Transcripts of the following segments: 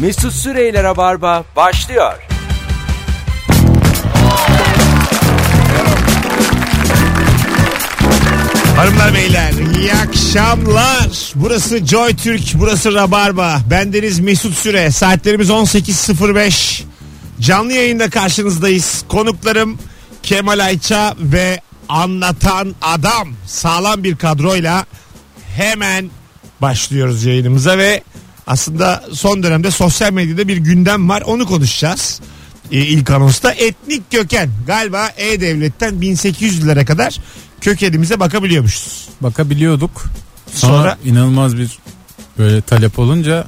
Mesut Süreyler'e barba başlıyor. Hanımlar beyler iyi akşamlar. Burası Joy Türk, burası Rabarba. Bendeniz Mesut Süre. Saatlerimiz 18.05. Canlı yayında karşınızdayız. Konuklarım Kemal Ayça ve Anlatan Adam. Sağlam bir kadroyla hemen başlıyoruz yayınımıza ve aslında son dönemde sosyal medyada bir gündem var. Onu konuşacağız. Ee, ilk anonsta etnik köken galiba E-Devlet'ten 1800 lira kadar kökenimize bakabiliyormuşuz. bakabiliyorduk. Sonra, Sonra inanılmaz bir böyle talep olunca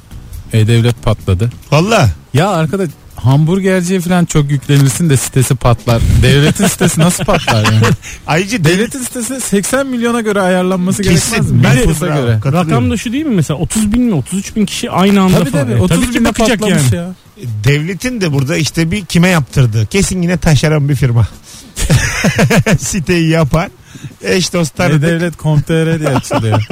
e-devlet patladı. valla Ya arkadaş hamburgerciye falan çok yüklenirsin de sitesi patlar. Devletin sitesi nasıl patlar yani? ayrıca devlet Devletin sitesi 80 milyona göre ayarlanması Kesin. gerekmez mi? Ben- Nüfusa Bravo. göre. Katılıyorum. Rakam da şu değil mi mesela 30 bin mi 33 bin kişi aynı anda Tabii falan. E, tabii Yani 30 tabii ki bine bakacak patlamış yani. ya. devletin de burada işte bir kime yaptırdı. Kesin yine taşeron bir firma. Siteyi yapan eş dostlar E-Devlet .com.tr diye açılıyor.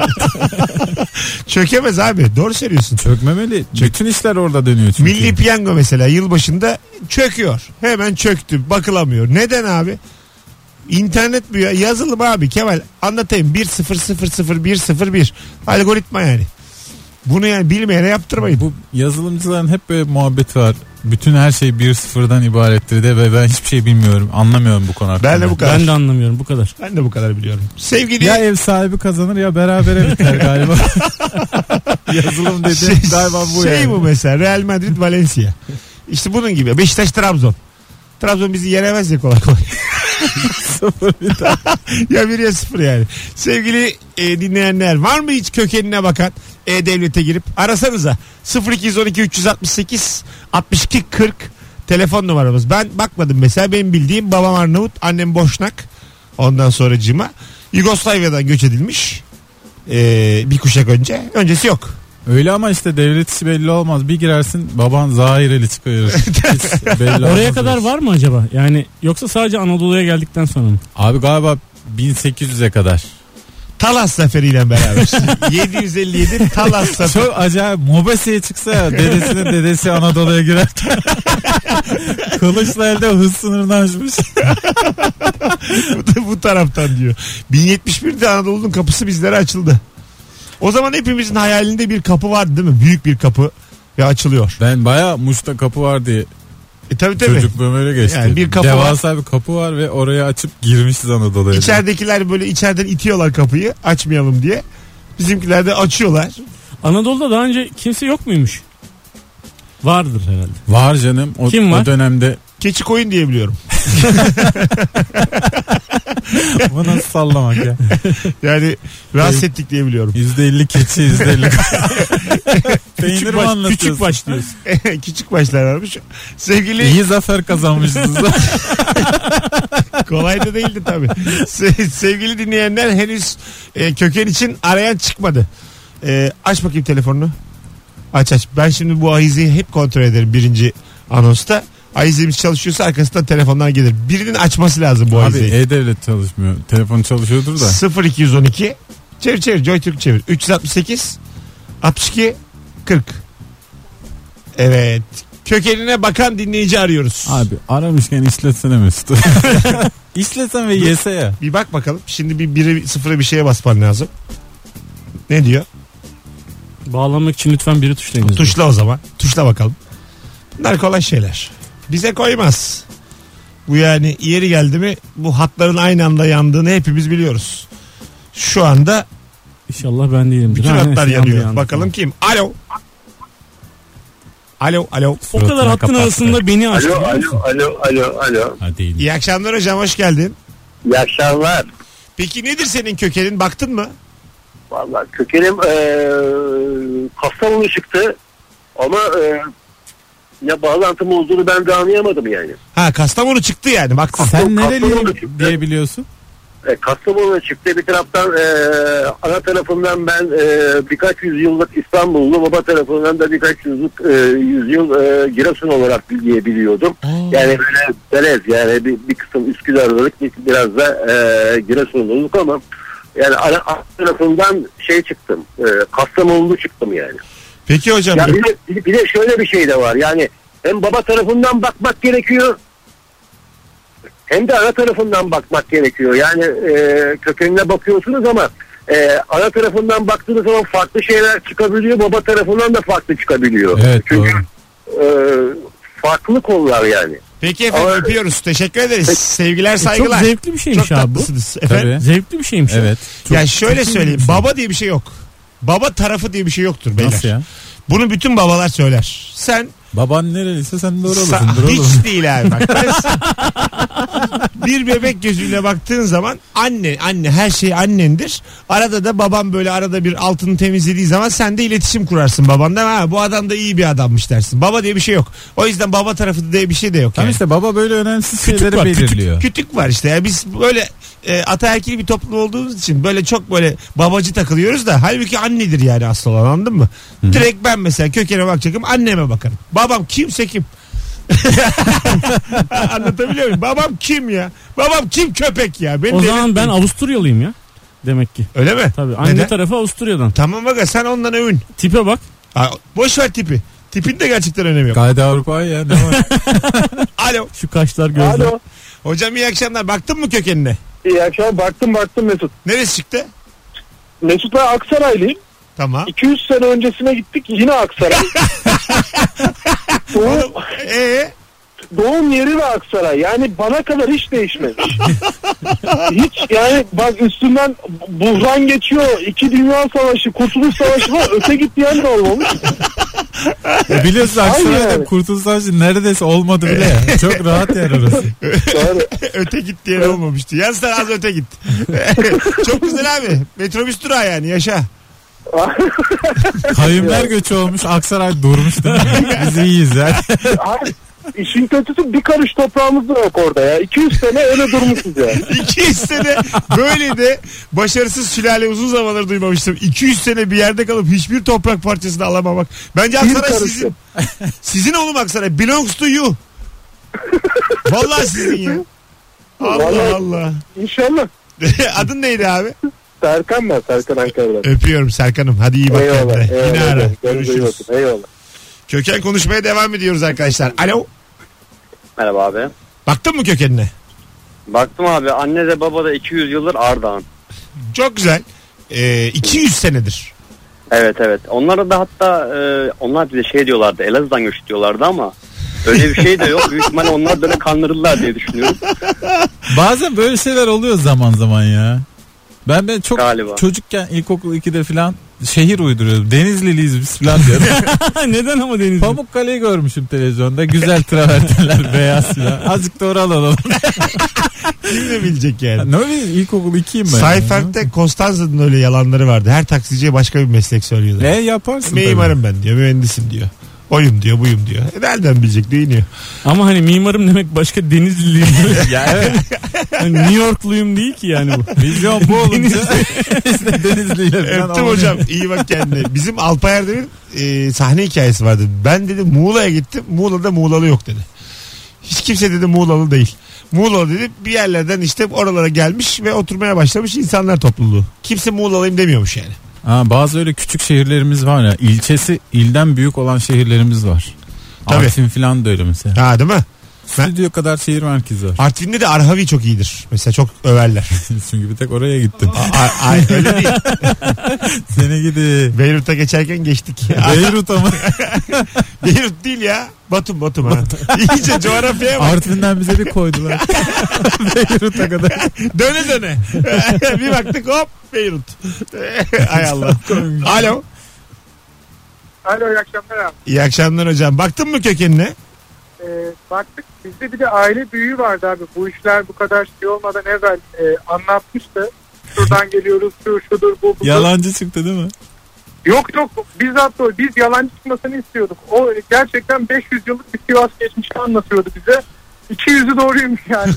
çökemez abi. Doğru söylüyorsun. Çökmemeli. Bütün işler orada dönüyor çünkü. Milli Piyango mesela yılbaşında çöküyor. Hemen çöktü. Bakılamıyor. Neden abi? İnternet bu ya. Yazılım abi Kemal. Anlatayım. 1000101. Algoritma yani. Bunu yani bilmeyene yaptırmayın. Bu yazılımcıların hep böyle muhabbeti var. Bütün her şey bir sıfırdan ibarettir de ve ben hiçbir şey bilmiyorum. Anlamıyorum bu konu hakkında. Ben de bu kadar. Ben de anlamıyorum bu kadar. Ben de bu kadar biliyorum. Sevgili Ya ev sahibi kazanır ya berabere biter galiba. Yazılım dedi galiba bu şey yani. bu mesela Real Madrid Valencia. İşte bunun gibi. Beşiktaş Trabzon. Trabzon bizi yenemez ya kolay kolay. ya bir ya sıfır yani. Sevgili e, dinleyenler var mı hiç kökenine bakan E-Devlet'e girip arasanıza 0212 368 62 40 telefon numaramız. Ben bakmadım mesela benim bildiğim babam Arnavut annem Boşnak ondan sonra Cima. Yugoslavya'dan göç edilmiş e, bir kuşak önce. Öncesi yok. Öyle ama işte devlet işi belli olmaz. Bir girersin baban zahireli çıkıyor. Hiç belli olmaz Oraya kadar diyorsun. var mı acaba? Yani yoksa sadece Anadolu'ya geldikten sonra mı? Abi galiba 1800'e kadar. Talas zaferiyle beraber. 757 Talas zaferi. Çok acayip mobeseye çıksa ya, dedesinin dedesi Anadolu'ya girer. Kılıçla elde hız sınırını aşmış. bu taraftan diyor. 1071'de Anadolu'nun kapısı bizlere açıldı. O zaman hepimizin hayalinde bir kapı vardı değil mi? Büyük bir kapı ve açılıyor. Ben baya Muş'ta kapı var diye E tabii tabii. çocukluğum öyle geçti. Yani bir kapı Devasa bir kapı var ve oraya açıp girmişiz Anadolu'ya. İçeridekiler böyle içeriden itiyorlar kapıyı açmayalım diye. Bizimkiler de açıyorlar. Anadolu'da daha önce kimse yok muymuş? Vardır herhalde. Var canım. O, Kim var? o dönemde Keçi koyun diye biliyorum. Bu nasıl sallamak ya? Yani rahatsız ettik diye biliyorum. Yüzde elli keçi, yüzde elli. Peynir Küçük mi baş, anlatıyorsun? küçük baş diyorsun. Küçük başlar varmış. Sevgili İyi zafer kazanmışsınız. Kolay da değildi tabii. Se- sevgili dinleyenler henüz e, köken için arayan çıkmadı. E, aç bakayım telefonunu. Aç aç. Ben şimdi bu ahizeyi hep kontrol ederim birinci anonsta. Ahizemiz çalışıyorsa arkasından telefonlar gelir. Birinin açması lazım bu Abi ahizeyi. E-Devlet çalışmıyor. Telefon çalışıyordur da. 0212 çevir çevir Joy Türk çevir. 368 62 40. Evet. Kökenine bakan dinleyici arıyoruz. Abi aramışken işletsene Mesut. İşletsen ve yese ya. Bir bak bakalım. Şimdi bir biri sıfıra bir şeye basman lazım. Ne diyor? Bağlanmak için lütfen biri tuşlayınız. Tuşla o zaman. Tuşla bakalım. Bunlar kolay şeyler. Bize koymaz. Bu yani yeri geldi mi bu hatların aynı anda yandığını hepimiz biliyoruz. Şu anda İnşallah ben değilim. bütün hatlar yanıyor. Bakalım kim? Alo. Alo, alo. O kadar Suratına hattın kapattı. arasında beni açtı. Alo, biliyor musun? alo, alo, alo, alo. Ha değil. İyi akşamlar hocam, hoş geldin. İyi akşamlar. Peki nedir senin kökenin? Baktın mı? Valla kökenim eee Kastamonu çıktı ama eee ya bağlantım olduğunu ben de anlayamadım yani. Ha Kastamonu çıktı yani. Baktın. Sen Yok, nereliyim Kastamonu'da çıktı. diye biliyorsun? E, Kastamonu çıktı bir taraftan eee ana tarafından ben eee, birkaç yüzyıllık İstanbullu baba tarafından da birkaç e, yüzyıllık eee, yüzyıl eee, e, Giresun olarak diyebiliyordum. Yani böyle berez yani bir, bir kısım Üsküdar'lılık bir, biraz da e, eee Giresunluluk ama yani ana, ana tarafından şey e, çıktım. eee Kastamonulu çıktım yani. Peki hocam. Ya bir, de, bir de şöyle bir şey de var. Yani hem baba tarafından bakmak gerekiyor hem de ana tarafından bakmak gerekiyor. Yani e, kökenine bakıyorsunuz ama e, ana tarafından baktığınız zaman farklı şeyler çıkabiliyor. Baba tarafından da farklı çıkabiliyor. Evet Çünkü doğru. e, farklı kollar yani. Peki efendim Ama- öpüyoruz. Teşekkür ederiz. Sevgiler E, Çok saygılar. zevkli bir şeymiş Çok abi bu. tatlısınız. Efendim? Tabii. Zevkli bir şeymiş. Evet. ya şöyle söyleyeyim. Baba diye bir şey yok. Baba tarafı diye bir şey yoktur beyler. Nasıl ya? Bunu bütün babalar söyler. Sen Baban nereliyse sen de Sa- oralısındır oğlum. hiç değil abi bak. Ben s- bir bebek gözüyle baktığın zaman anne anne her şey annendir. Arada da babam böyle arada bir altını temizlediği zaman sen de iletişim kurarsın babandan. Ha bu adam da iyi bir adammış dersin. Baba diye bir şey yok. O yüzden baba tarafı diye bir şey de yok. Tam yani. işte baba böyle önemsiz kütük şeyleri var, belirliyor. kütük, kütük var işte. ya biz böyle e, ataerkil bir toplum olduğumuz için böyle çok böyle babacı takılıyoruz da halbuki annedir yani asıl olan anladın mı? Direkt ben mesela kökene bakacakım anneme bakarım. Babam kimse kim? Anlatabiliyor muyum? Babam kim ya? Babam kim köpek ya? Beni O deli- zaman ben Avusturyalıyım ya. Demek ki. Öyle mi? Tabii anne Neden? tarafı Avusturya'dan. Tamam aga sen ondan övün. Tipe bak. Aa, boş ver tipi. Tipin de gerçekten önemi yok. Gayet Avrupa'ya ya ne var? Alo. Şu kaşlar gözler. Alo. Hocam iyi akşamlar. Baktın mı kökenine? İyi akşamlar. Baktım baktım Mesut. Neresi çıktı? Mesut ben Aksaraylıyım. Tamam. 200 sene öncesine gittik yine Aksaray. doğum, Ee? doğum yeri ve Aksaray. Yani bana kadar hiç değişmemiş. hiç yani bak üstünden buhran geçiyor. İki Dünya Savaşı, Kurtuluş Savaşı var. Öte git diyen de olmamış. E biliyorsun yani. Aksaray'da Kurtuluş Savaşı neredeyse olmadı bile. ya. Çok rahat yer orası. Yani öte git diye olmamıştı. Yaz sen az öte git. Çok güzel abi. Metrobüs durağı yani yaşa. Kayınlar göçü olmuş Aksaray durmuş değil mi? Biz iyiyiz yani. Hayır. İşin kötüsü bir karış toprağımız da yok orada ya. 200 sene öyle durmuşuz ya. İki sene böyle de başarısız sülale uzun zamandır duymamıştım. 200 sene bir yerde kalıp hiçbir toprak parçasını alamamak. Bence Bir Aksaray karış sizin. Sizin oğlum Aksaray. Belongs to you. Vallahi sizin ya. Allah Vallahi- Allah. İnşallah. Adın neydi abi? Serkan var Serkan Ankara'dan. Öpüyorum Serkan'ım. Hadi iyi bak Eyvallah. kendine. eyvallah. Yine ara. Kendinize iyi Görüşürüz. bakın, Eyvallah. Köken konuşmaya devam ediyoruz arkadaşlar. Alo. Merhaba abi. Baktın mı kökenine? Baktım abi anne de baba da 200 yıldır Ardahan. Çok güzel. Ee, 200 senedir. Evet evet. Onlara da hatta e, onlar bile şey diyorlardı Elazığ'dan göç diyorlardı ama öyle bir şey de yok. Büyük ihtimalle onlar böyle kandırırlar diye düşünüyorum. Bazen böyle şeyler oluyor zaman zaman ya. Ben ben çok Galiba. çocukken ilkokul 2'de falan şehir uyduruyordum. Denizliliyiz biz falan diyordum. Neden ama Deniz? Pamukkale'yi görmüşüm televizyonda. Güzel travertenler beyaz filan. Azıcık da oralı olalım. Kim ne bilecek yani? ne bileyim ilkokul 2'yim ben. Sayfer'de Konstanza'nın öyle yalanları vardı. Her taksiciye başka bir meslek söylüyordu. Ne yaparsın tabii. Mimarım ben diyor, mühendisim diyor. Oyum diyor, buyum diyor. E nereden bilecek, ne iniyor? Ama hani mimarım demek başka Denizliliyim. ya hani New Yorkluyum değil ki yani bu. Vizyon bu olunca işte Denizli'yle falan Öptüm olmuyor. hocam, iyi bak kendine. Bizim Alpay Erdem'in e, sahne hikayesi vardı. Ben dedi Muğla'ya gittim, Muğla'da Muğlalı yok dedi. Hiç kimse dedi Muğlalı değil. Muğlalı dedi bir yerlerden işte oralara gelmiş ve oturmaya başlamış insanlar topluluğu. Kimse Muğlalıyım demiyormuş yani. Ha, bazı öyle küçük şehirlerimiz var ya. İlçesi ilden büyük olan şehirlerimiz var. Tabii. Artvin falan da öyle mesela. Ha değil mi? Ben- Stüdyo kadar şehir merkezi var. Artvin'de de Arhavi çok iyidir. Mesela çok överler. Çünkü bir tek oraya gittim. Ay, ay, öyle değil. Seni gidi. Beyrut'a geçerken geçtik. Ay, Beyrut ama Beyrut değil ya. Batum Batum ha. İyice coğrafyaya bak. Artvin'den bize bir koydular. Beyrut'a kadar. Döne döne. bir baktık hop Beyrut. Ay Allah. Alo. Alo iyi akşamlar abi. İyi akşamlar hocam. Baktın mı kökenine? Ee, baktık bizde bir de aile büyüğü vardı abi. Bu işler bu kadar şey olmadan evvel e, anlatmıştı. Şuradan geliyoruz şu şudur bu bu. Yalancı çıktı değil mi? Yok yok bizzat doğru. Biz yalancı çıkmasını istiyorduk. O e, gerçekten 500 yıllık bir Sivas geçmişini anlatıyordu bize. 200'ü doğruymuş yani.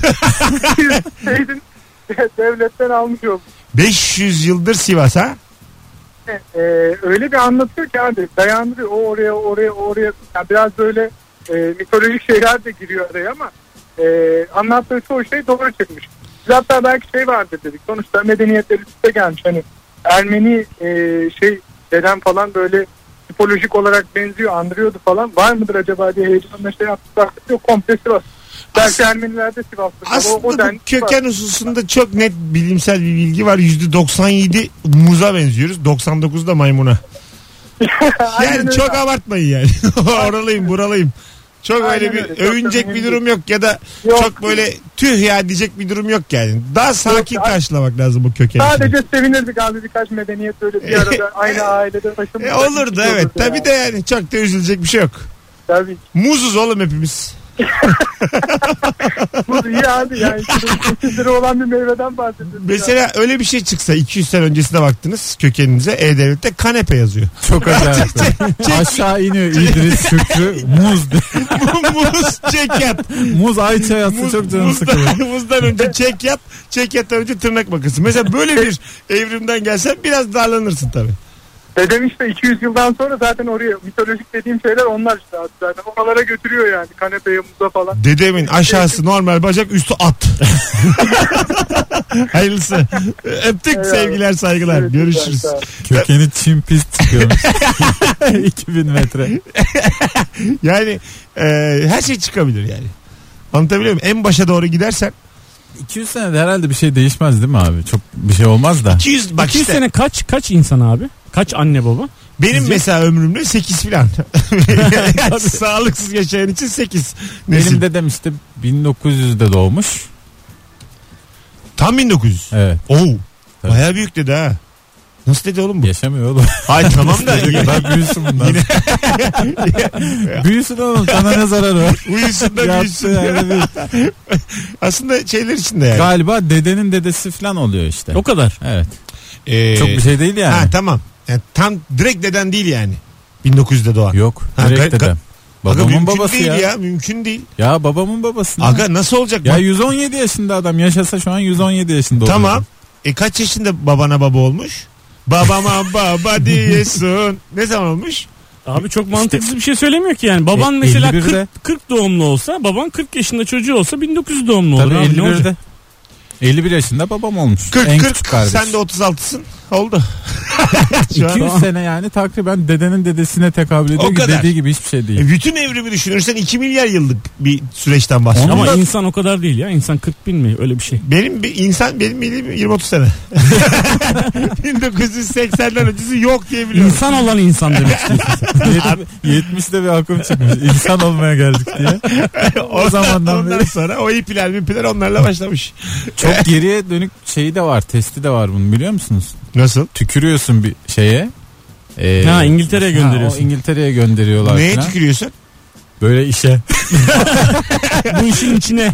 200 şeydin, devletten almış olduk. 500 yıldır Sivas ha. Ee, öyle bir anlatıyor ki abi dayandırıyor o oraya oraya oraya Yani biraz böyle e, mitolojik şeyler de giriyor araya ama e, anlattığı çoğu şey doğru çıkmış. Biz hatta belki şey vardır dedik sonuçta medeniyetler üst üste gelmiş hani Ermeni e, şey dedem falan böyle tipolojik olarak benziyor, andırıyordu falan. Var mıdır acaba diye heyecanla şey yaptık. Baktık yok komple Sivas. Belki Ermenilerde Sivas'tır. Ama o, o Aslında bu denli Sivas. köken hususunda çok net bilimsel bir bilgi var. %97 muza benziyoruz. 99 da maymuna. Aynen Yani öyle çok abi. abartmayın yani. Oralıyım buralıyım. Çok Aynen öyle bir öyle. Çok övünecek önemli bir değil. durum yok ya da Yok. çok böyle tüh ya diyecek bir durum yok yani. Daha sakin Yok. karşılamak lazım bu kökeni. Sadece sevinirdik abi birkaç medeniyet böyle bir arada aynı ailede taşınmış. E, olurdu evet. Tabii de yani çok da üzülecek bir şey yok. Tabii. Muzuz oğlum hepimiz. Bu iyi abi yani. Şimdi 8 lira olan bir meyveden bahsediyoruz. Mesela öyle bir şey çıksa 200 sene öncesine baktınız kökeninize E-Devlet'te kanepe yazıyor. Çok acayip. Aşağı iniyor İdris Şükrü. Muz. Muz çekyat. Muz ayça yatsı Muz, çok canım sıkılıyor. muzdan, muzdan önce çekyat, çekyattan önce tırnak makası. Mesela böyle bir evrimden gelsen biraz darlanırsın tabii. Dedem işte 200 yıldan sonra zaten oraya mitolojik dediğim şeyler onlar işte abi zaten. Oralara götürüyor yani kanepeye muza falan. Dedemin aşağısı normal bacak üstü at. Hayırlısı. Öptük Eyvallah. sevgiler saygılar. Evet, Görüşürüz. güzel, sağ ol. Kökeni çim pis çıkıyormuş. 2000 metre. Yani e, her şey çıkabilir yani. Anlatabiliyor muyum? En başa doğru gidersen 200 senede herhalde bir şey değişmez değil mi abi? Çok bir şey olmaz da. 200 bak 200 işte sene kaç kaç insan abi? Kaç anne baba? benim mesela ömrümde 8 filan. Yani Sağlıksız yaşayan için 8 nesil. Benim dedem işte 1900'de doğmuş. Tam 1900. Evet. Oo. Tabii. Bayağı büyük dedi ha. Nasıl dedi oğlum bu? Yaşamıyor oğlum. Ay tamam da ben büyüsün bundan. büyüsün oğlum sana ne zararı var? uyusun da Yaptığı büyüsün. yerde büyü. Aslında şeyler içinde yani. Galiba dedenin dedesi falan oluyor işte. O kadar. Evet. Ee, Çok bir şey değil yani. Ha tamam. Yani tam direkt deden değil yani. 1900'de doğan. Yok. Ha, Direkt ka- ka- dedem. Aga Babamın mümkün babası değil ya. ya. ya. Mümkün değil. babamın babası. lan. Aga nasıl olacak? Ya Bak, 117 yaşında adam yaşasa şu an 117 yaşında olacak. tamam. E kaç yaşında babana baba olmuş? Babama baba diyesin. Ne zaman olmuş? Abi çok mantıksız bir şey söylemiyor ki yani. Baban E, mesela 51'de. 40, 40 doğumlu olsa, baban 40 yaşında çocuğu olsa 1900 doğumlu olur. Tabii abi, ne olacak? 51'de. 51 yaşında babam olmuş. 40 en 40 küçük kardeş. sen de 36'sın. Oldu. Şu an- 200 sene yani takriben dedenin dedesine tekabül ediyor O ki kadar. dediği gibi hiçbir şey değil. E, bütün evrimi düşünürsen 2 milyar yıllık bir süreçten bahsediyoruz. Ama Ama insan o kadar değil ya. İnsan 40 bin mi? Öyle bir şey. benim bir insan benim bildiğim 20-30 sene. 1980'den öncesi yok diye biliyorum. İnsan olan insan demek. Yet- 70'de bir akım çıkmış. İnsan olmaya geldik diye. o zamandan ondan beri. sonra o ipiler mipiler onlarla başlamış. Çok geriye dönük şeyi de var. Testi de var bunun biliyor musunuz? Nasıl? Tükürüyorsun bir şeye. Ee, Ha, İngiltere'ye ha, gönderiyorsun. o İngiltere'ye gönderiyorlar. Neye falan. tükürüyorsun? Böyle işe. Bu işin içine.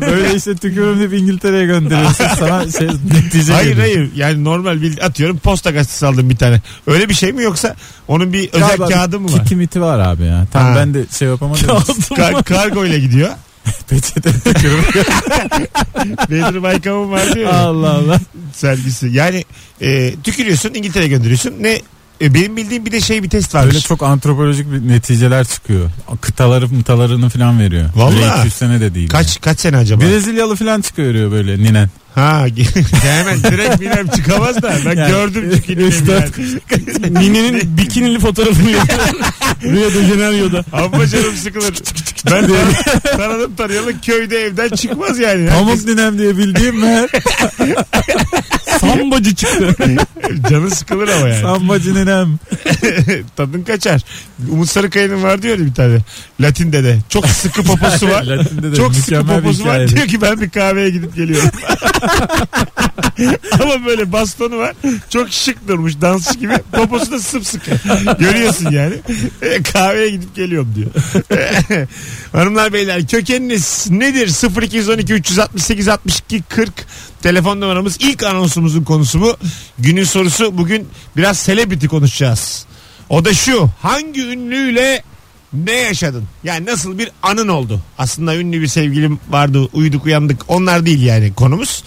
Böyle işte tükürüm deyip İngiltere'ye gönderiyorsun. Sana şey netice Hayır geliyor. hayır yani normal bir atıyorum posta gazetesi aldım bir tane. Öyle bir şey mi yoksa onun bir özel Galiba bir kağıdı mı var? Kiki miti var abi ya. Tam Ha. ben de şey yapamadım. Kar- kargo ile gidiyor. Peçete tükürüm. Bedir Baykam'ın var diyor ya Allah Allah. sergisi. Yani e, tükürüyorsun İngiltere'ye gönderiyorsun. Ne e, benim bildiğim bir de şey bir test varmış. Böyle çok antropolojik bir neticeler çıkıyor. Kıtaları mıtalarını falan veriyor. Vallahi. Böyle 200 sene de değil. Kaç kaç sene acaba? yani. Brezilyalı falan çıkıyor böyle ninen. Ha hemen direkt bilmem çıkamaz da ben Yani, gördüm çünkü üç, ninem dört. yani. Ninenin bikinili fotoğrafını yapıyor. Rio de Janeiro'da. Amma canım sıkılır. Ben tan- tanıdım tanıyalım köyde evden çıkmaz yani. Pamuk ninem diye bildiğim meğer Sambacı çıktı. Canı sıkılır ama yani. sambacı ninem. Tadın kaçar. Umut Sarıkaya'nın var diyor ya bir tane. Latin dede. Çok sıkı poposu var. Latin'de de Çok sıkı mükemmel bir poposu var. hikaye. Diyor ki ben bir kahveye gidip geliyorum. Ama böyle bastonu var. Çok şık durmuş dansçı gibi. Poposu da sımsıkı. Görüyorsun yani. E, kahveye gidip geliyorum diyor. E, Hanımlar beyler kökeniniz nedir? 0212 368 62 40 telefon numaramız ilk anonsumuzun konusu bu. Günün sorusu bugün biraz celebrity konuşacağız. O da şu hangi ünlüyle ne yaşadın? Yani nasıl bir anın oldu? Aslında ünlü bir sevgilim vardı uyuduk uyandık onlar değil yani konumuz.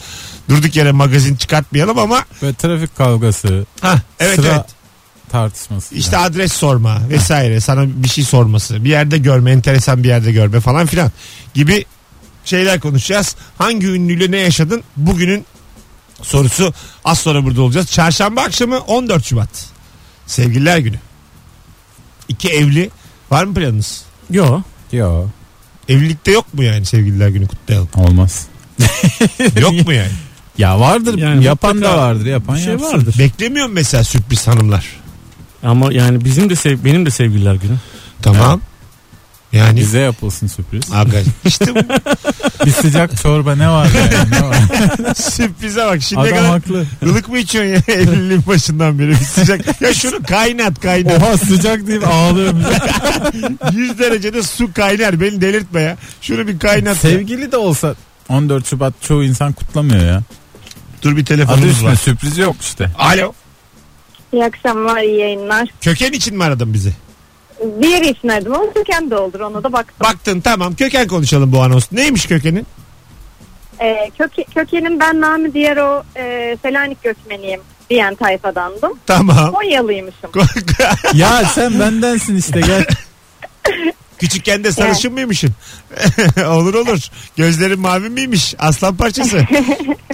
Durduk yere magazin çıkartmayalım ama Böyle trafik kavgası. ha evet sıra evet. tartışması. İşte adres sorma vesaire sana bir şey sorması bir yerde görme enteresan bir yerde görme falan filan gibi şeyler konuşacağız. Hangi ünlüyle ne yaşadın bugünün sorusu az sonra burada olacağız. Çarşamba akşamı 14 Şubat sevgililer günü. İki evli. Var mı planınız? Yo. Yo. Evlilikte yok mu yani sevgililer günü kutlayalım? Olmaz. Yok mu yani? Ya vardır. Yani yapan mutlaka da vardır. Yapan Bir şey yapsın. vardır. Beklemiyor mu mesela sürpriz hanımlar? Ama yani bizim de sev benim de sevgililer günü. Tamam. Yani Bize yapılsın sürpriz. aga işte bu Bir sıcak çorba ne var yani? Ne var? sürprize bak şimdi Adam kadar haklı. ılık mı içiyorsun ya evliliğin başından beri bir sıcak. Ya şunu kaynat kaynat. Oha sıcak deyip ağlıyorum. 100 derecede su kaynar beni delirtme ya. Şunu bir kaynat. ya. Sevgili de olsa 14 Şubat çoğu insan kutlamıyor ya. Dur bir Adı telefonumuz üstüne var. sürpriz yok işte. Alo. İyi akşamlar, iyi yayınlar. Köken için mi aradın bizi? Bir yere için aradım ama köken de olur ona da baktım. Baktın tamam köken konuşalım bu anons. Neymiş kökenin? Ee, köke, kökenim ben Nami diğer o e, Selanik göçmeniyim diyen tayfadandım. Tamam. Konyalıymışım. ya sen bendensin işte gel. Küçükken de sarışın mıymışsın? olur olur. Gözlerin mavi miymiş? Aslan parçası.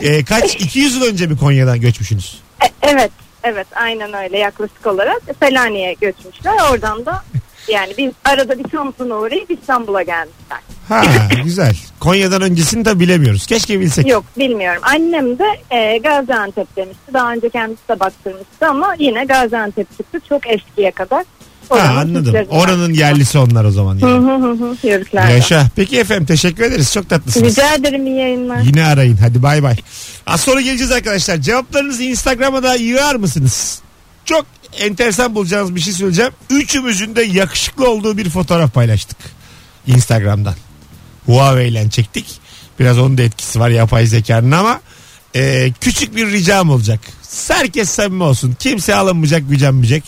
Ee, kaç? 200 yıl önce mi Konya'dan göçmüşsünüz? E- evet, evet aynen öyle yaklaşık olarak Selanik'e göçmüşler. Oradan da yani biz arada bir Samsun'a uğrayıp İstanbul'a gelmişler. Ha güzel. Konya'dan öncesini de bilemiyoruz. Keşke bilsek. Yok bilmiyorum. Annem de e, Gaziantep demişti. Daha önce kendisi de baktırmıştı ama yine Gaziantep çıktı. Çok eskiye kadar. ha, Oranın anladım. Türklerinden. Oranın yerlisi onlar o zaman. Hı Yani. hı hı hı, Yörüklerden. Yaşa. Peki efendim teşekkür ederiz. Çok tatlısınız. Rica ederim iyi yayınlar. Yine arayın. Hadi bay bay. Az sonra geleceğiz arkadaşlar. Cevaplarınızı Instagram'a da yığar mısınız? Çok enteresan bulacağınız bir şey söyleyeceğim. Üçümüzün de yakışıklı olduğu bir fotoğraf paylaştık. Instagram'dan. Huawei'yle çektik. Biraz onun da etkisi var yapay zekanın ama e, küçük bir ricam olacak. Herkes samimi olsun. Kimse alınmayacak, gücenmeyecek.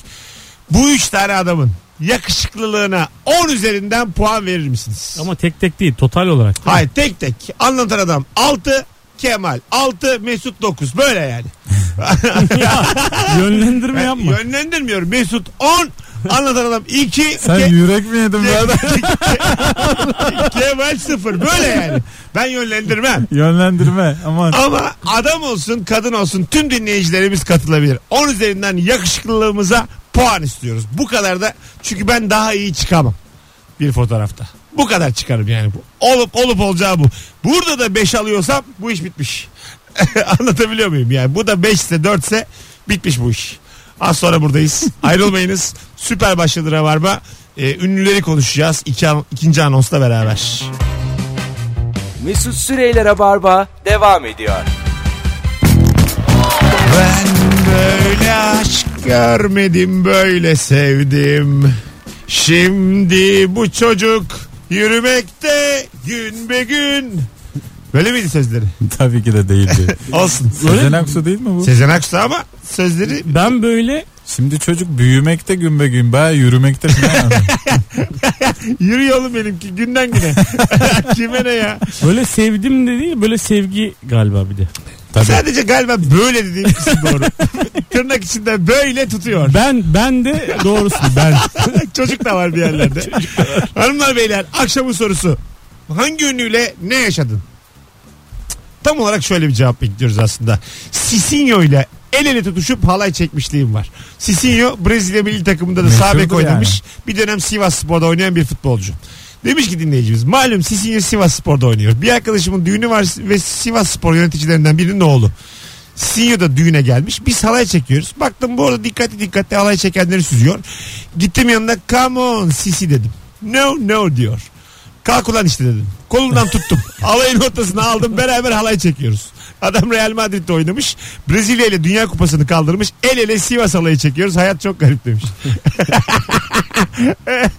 Bu üç tane adamın yakışıklılığına 10 üzerinden puan verir misiniz? Ama tek tek değil total olarak. Hayır tek tek. Anlatan adam 6, Kemal 6, Mesut 9. Böyle yani. Yönlendirme Ben yapma. Yönlendirmiyorum. Mesut 10, anlatan adam 2, Sen yürek mi yedin be adam? Kemal 0. Böyle yani. Ben yönlendirmem. Yönlendirme aman. Ama adam olsun kadın olsun tüm dinleyicilerimiz katılabilir. 10 üzerinden yakışıklılığımıza puan istiyoruz. Bu kadar da çünkü ben daha iyi çıkamam bir fotoğrafta. Bu kadar çıkarım yani. Bu. Olup olup olacağı bu. Burada da 5 alıyorsam bu iş bitmiş. Anlatabiliyor muyum yani? Bu da 5 ise 4 ise bitmiş bu iş. Az sonra buradayız. Ayrılmayınız. Süper başladı Rabarba. Ee, ünlüleri konuşacağız. İki, an- ikinci anonsla beraber. Mesut Süreyler'e barba devam ediyor. Ben böyle aşk görmedim böyle sevdim. Şimdi bu çocuk yürümekte gün be gün. Böyle miydi sözleri? Tabii ki de değildi. Olsun. Sezen Aksu değil mi bu? Sezen Aksu ama sözleri Ben böyle Şimdi çocuk büyümekte gün be gün baya yürümekte falan. yürüyor oğlum benimki günden güne. Kime ne ya? böyle sevdim de değil böyle sevgi galiba bir de. Tabii. Sadece galiba böyle dediğim kısım doğru. Tırnak içinde böyle tutuyor. Ben ben de doğrusu ben. Çocuk da var bir yerlerde. Hanımlar beyler akşamın sorusu. Hangi ünlüyle ne yaşadın? Tam olarak şöyle bir cevap bekliyoruz aslında. Sisinho ile el ele tutuşup halay çekmişliğim var. Sisinho Brezilya milli takımında da sağ bek Meşhurdur oynamış. Bir dönem Sivas Spor'da oynayan bir futbolcu. Demiş ki dinleyicimiz malum Sisinho Sivas Spor'da oynuyor. Bir arkadaşımın düğünü var ve Sivas Spor yöneticilerinden birinin oğlu. Sinyo E da düğüne gelmiş. Biz halay çekiyoruz. Baktım bu arada dikkatli dikkatli halay çekenleri süzüyor. Gittim yanına come on sisi dedim. No no diyor. Kalk ulan işte dedim. Kolundan tuttum. Alayın ortasına aldım beraber halay çekiyoruz. Adam Real Madrid'de oynamış. Brezilya ile Dünya Kupası'nı kaldırmış. El ele Sivas halayı çekiyoruz. Hayat çok garip demiş.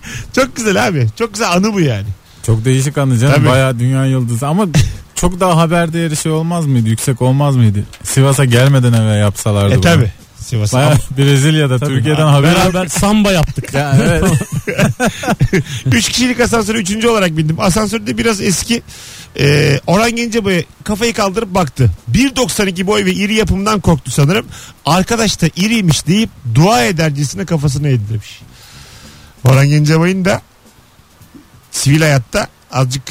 çok güzel abi. Çok güzel anı bu yani. Çok değişik anı canım. Tabii. Baya dünya yıldızı ama çok daha haber değeri şey olmaz mıydı? Yüksek olmaz mıydı? Sivas'a gelmeden eve yapsalardı. E bunu. tabi. Sivas. Baya Brezilya'da Türkiye'den haber Beraber samba yaptık. Ya evet. Üç kişilik asansöre üçüncü olarak bindim. Asansörde biraz eski e, Orhan Gencebay kafayı kaldırıp baktı. 1.92 boy ve iri yapımdan korktu sanırım. Arkadaş da iriymiş deyip dua edercesine kafasını eğdi demiş. Orhan Gencebay'ın da sivil hayatta azıcık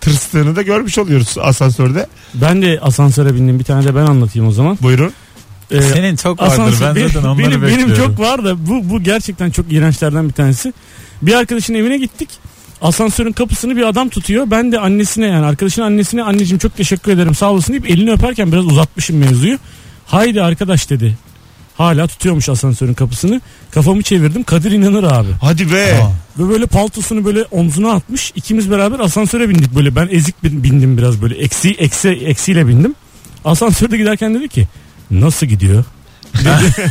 tırstığını da görmüş oluyoruz asansörde. Ben de asansöre bindim. Bir tane de ben anlatayım o zaman. Buyurun. e, Senin çok vardır. asansör- ben zaten benim, onları benim, benim bekliyorum. çok var da bu, bu gerçekten çok iğrençlerden bir tanesi. Bir arkadaşın evine gittik. Asansörün kapısını bir adam tutuyor. Ben de annesine yani arkadaşın annesine anneciğim çok teşekkür ederim sağ olasın deyip elini öperken biraz uzatmışım mevzuyu. Haydi arkadaş dedi. Hala tutuyormuş asansörün kapısını. Kafamı çevirdim. Kadir inanır abi. Hadi be. Aa. Ve böyle paltosunu böyle omzuna atmış. İkimiz beraber asansöre bindik böyle. Ben ezik bin- bindim biraz böyle. Eksi, eksi, eksiyle bindim. Asansörde giderken dedi ki nasıl gidiyor? Dedi.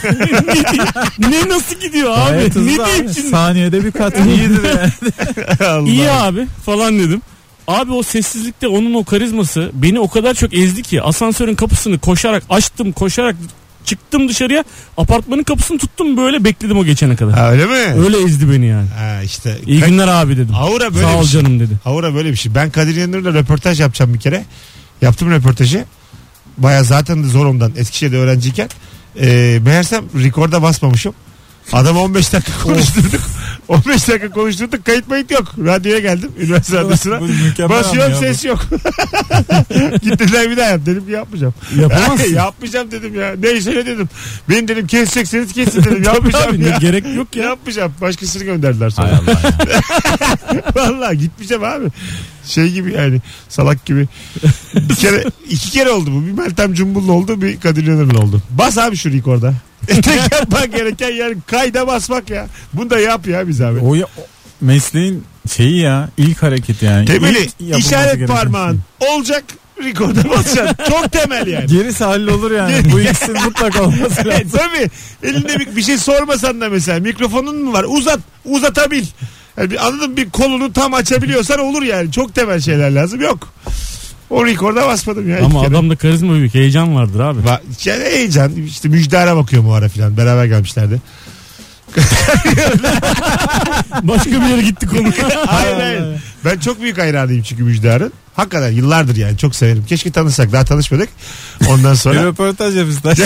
ne, ne nasıl gidiyor abi? Gayet ne hızlı diyeyim abi. şimdi? Saniyede bir kat iyidir yani. Allah. İyi abi falan dedim. Abi o sessizlikte onun o karizması beni o kadar çok ezdi ki asansörün kapısını koşarak açtım koşarak çıktım dışarıya apartmanın kapısını tuttum böyle bekledim o geçene kadar. Ha, öyle mi? Öyle ezdi beni yani. Ha, işte. İyi Ka- günler abi dedim. Aura böyle Sağ bir ol şey. canım dedi. Aura böyle bir şey. Ben Kadir İnanır'la röportaj yapacağım bir kere. Yaptım röportajı. Baya zaten de zor ondan. Eskişehir'de öğrenciyken. Ee, meğersem rekorda basmamışım. Adam 15 dakika konuşturduk. 15 dakika konuşturduk. Kayıt mayıt yok. Radyoya geldim. Üniversite radyosuna. Bu mükemmel Basıyorum ama ya bu. ses yok. Gittiler bir daha yap. Dedim ki yapmayacağım. Yapamazsın. yapmayacağım dedim ya. Neyse ne dedim. Beni dedim kesecekseniz kesin dedim. yapmayacağım Abi, ya. ne gerek yok ya. Yapmayacağım. Başkasını gönderdiler sonra. Hay Allah. ya. Vallahi gitmeyeceğim abi. Şey gibi yani salak gibi. Bir kere iki kere oldu bu. Bir Meltem Cumbul'la oldu bir Kadir İnanır'la oldu. Bas abi şu rekorda. Tek yapmak gereken yer kayda basmak ya. Bunu da yap ya biz abi. O, ya- o mesleğin şeyi ya ilk hareket yani. Temeli İlk yapılması işaret gereken parmağın olacak rekorda basacaksın. Çok temel şey. yani. Gerisi hallolur yani. Bu ikisinin mutlaka olması Evet, lazım. tabii. Elinde bir, bir şey sormasan da mesela mikrofonun mu var? Uzat, uzatabil. Yani bir, anladın mı? bir kolunu tam açabiliyorsan olur yani. Çok temel şeyler lazım. Yok. O rekorda basmadım ya. iki Ama kere. adamda karizma büyük heyecan vardır abi. Va- yani heyecan. İşte müjdara bakıyor mu ara filan. Beraber gelmişlerdi. Başka bir yere gitti konu. hayır hayır. Ben çok büyük hayranıyım çünkü müjdarın. Hakikaten yıllardır yani çok severim. Keşke tanışsak daha tanışmadık. Ondan Bir sonra röportaj yapmışlar.